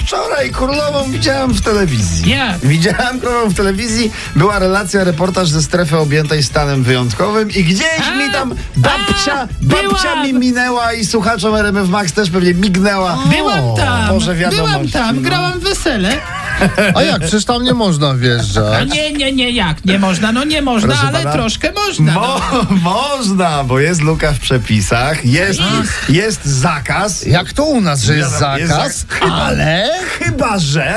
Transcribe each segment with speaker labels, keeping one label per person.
Speaker 1: Wczoraj królową widziałem w telewizji.
Speaker 2: Nie.
Speaker 1: Widziałem królową w telewizji, była relacja, reportaż ze strefy objętej stanem wyjątkowym i gdzieś
Speaker 2: A,
Speaker 1: mi tam babcia,
Speaker 2: a,
Speaker 1: babcia
Speaker 2: byłam.
Speaker 1: mi minęła i słuchaczom RMF Max też pewnie mignęła.
Speaker 2: Byłam
Speaker 1: O,
Speaker 2: tam,
Speaker 1: Boże wiadomości.
Speaker 2: byłam tam,
Speaker 1: no.
Speaker 2: grałam wesele.
Speaker 3: A jak? Przecież tam nie można
Speaker 2: A
Speaker 3: wjeżdżać.
Speaker 2: nie, nie, nie, jak? Nie można, no nie można,
Speaker 1: Tak? Proszę
Speaker 2: ale
Speaker 1: pana.
Speaker 2: troszkę można.
Speaker 1: Mo-
Speaker 2: No.
Speaker 1: można, bo jest luka w przepisach, jest, jest zakaz.
Speaker 3: Jak to u nas, że jest
Speaker 1: Ja- jest
Speaker 3: zakaz,
Speaker 1: zak-
Speaker 3: ale...
Speaker 1: Chyba, że.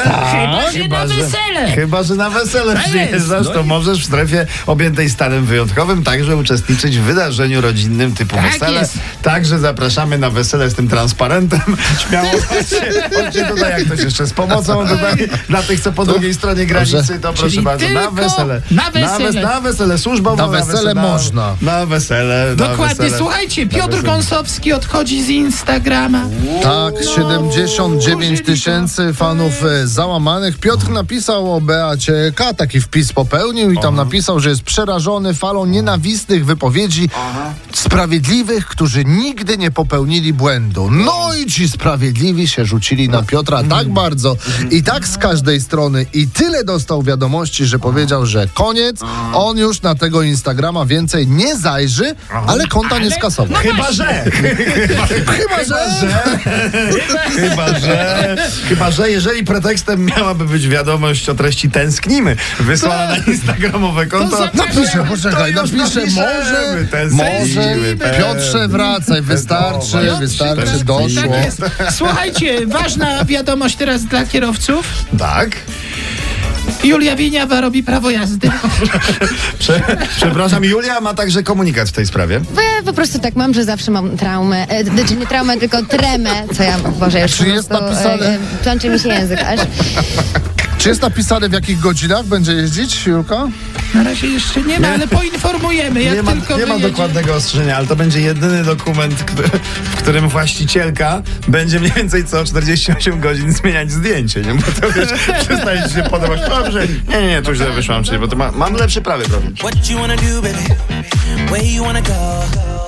Speaker 2: Chyba, że na wesele.
Speaker 1: Tak. Chyba, że na wesele
Speaker 2: jest,
Speaker 1: przyjeżdżasz,
Speaker 2: no
Speaker 1: to możesz w strefie objętej stanem wyjątkowym także uczestniczyć w wydarzeniu rodzinnym typu
Speaker 2: Tak
Speaker 1: wesele.
Speaker 2: jest.
Speaker 1: Także zapraszamy na wesele z tym transparentem. Śmiało chodźcie, chodźcie tutaj, jak ktoś jeszcze z pomocą tutaj. Dla tych, co po drugiej stronie granicy, to proszę
Speaker 2: Tak. Czyli
Speaker 1: bardzo, na
Speaker 2: tylko
Speaker 1: wesele.
Speaker 2: na
Speaker 1: Na,
Speaker 2: wesele.
Speaker 1: wes- na wesele, służba na
Speaker 3: Na wesele
Speaker 1: na-
Speaker 3: można.
Speaker 1: Na wesele. na
Speaker 2: Dokładnie,
Speaker 1: wesele. Tak
Speaker 2: słuchajcie,
Speaker 1: Na
Speaker 2: Piotr
Speaker 1: wesele.
Speaker 2: Kąsowski odchodzi z Instagrama.
Speaker 3: Tak, 79 tysięcy fanów e, załamanych. Piotr napisał o Beacie K, taki wpis popełnił i tam napisał, że jest przerażony falą nienawistnych wypowiedzi sprawiedliwych, którzy nigdy nie popełnili błędu. No i ci sprawiedliwi się rzucili na Piotra tak bardzo i tak z każdej strony i tyle dostał wiadomości, że powiedział, że koniec, on już na tego Instagrama więcej nie zajrzy, ale konta nie skasował.
Speaker 1: Chyba, że.
Speaker 3: Chyba, że...
Speaker 1: Chyba, że. Chyba, że jeżeli pretekstem miałaby być wiadomość o treści tęsknimy, wysłana na instagramowe konto.
Speaker 2: Tak. To za-
Speaker 3: Napiszę,
Speaker 1: To
Speaker 3: No poczekaj,
Speaker 1: już
Speaker 3: napiszę,
Speaker 1: napiszemy,
Speaker 3: może,
Speaker 1: ten
Speaker 3: może,
Speaker 1: zębiły,
Speaker 3: Piotrze wracaj,
Speaker 1: Dobra,
Speaker 3: wystarczy,
Speaker 1: Piotrze,
Speaker 3: wystarczy,
Speaker 1: tak,
Speaker 3: doszło.
Speaker 2: Tak jest. Słuchajcie, ważna wiadomość teraz dla kierowców.
Speaker 1: Tak?
Speaker 2: Julia Wieniawa robi prawo jazdy.
Speaker 1: Prze- przepraszam, Julia ma także komunikat w tej sprawie.
Speaker 4: Bo ja po prostu tak mam, że zawsze mam traumę. E, Znaczy nie traumę, tylko tremę, co ja, Boże, już
Speaker 3: Czy
Speaker 4: po
Speaker 3: jest
Speaker 4: prostu, e,
Speaker 3: napisane?
Speaker 4: e, Plączy mi się język aż.
Speaker 3: Czy jest napisane w jakich godzinach będzie jeździć, Julka?
Speaker 2: Na razie jeszcze nie ma, ale poinformujemy, jak
Speaker 1: Nie ma,
Speaker 2: tylko
Speaker 1: nie ma
Speaker 2: wyjedzie.
Speaker 1: dokładnego ostrzeżenia, ale to będzie jedyny dokument, który, w którym właścicielka będzie mniej więcej co 48 godzin zmieniać zdjęcie, nie? Bo to wiesz, przestaje ci się podobać. Dobrze, nie, nie, nie, tu źle wyszłam, czyli bo to ma, mam lepszy prawy profil.
Speaker 5: What you wanna do, baby? Where you wanna go?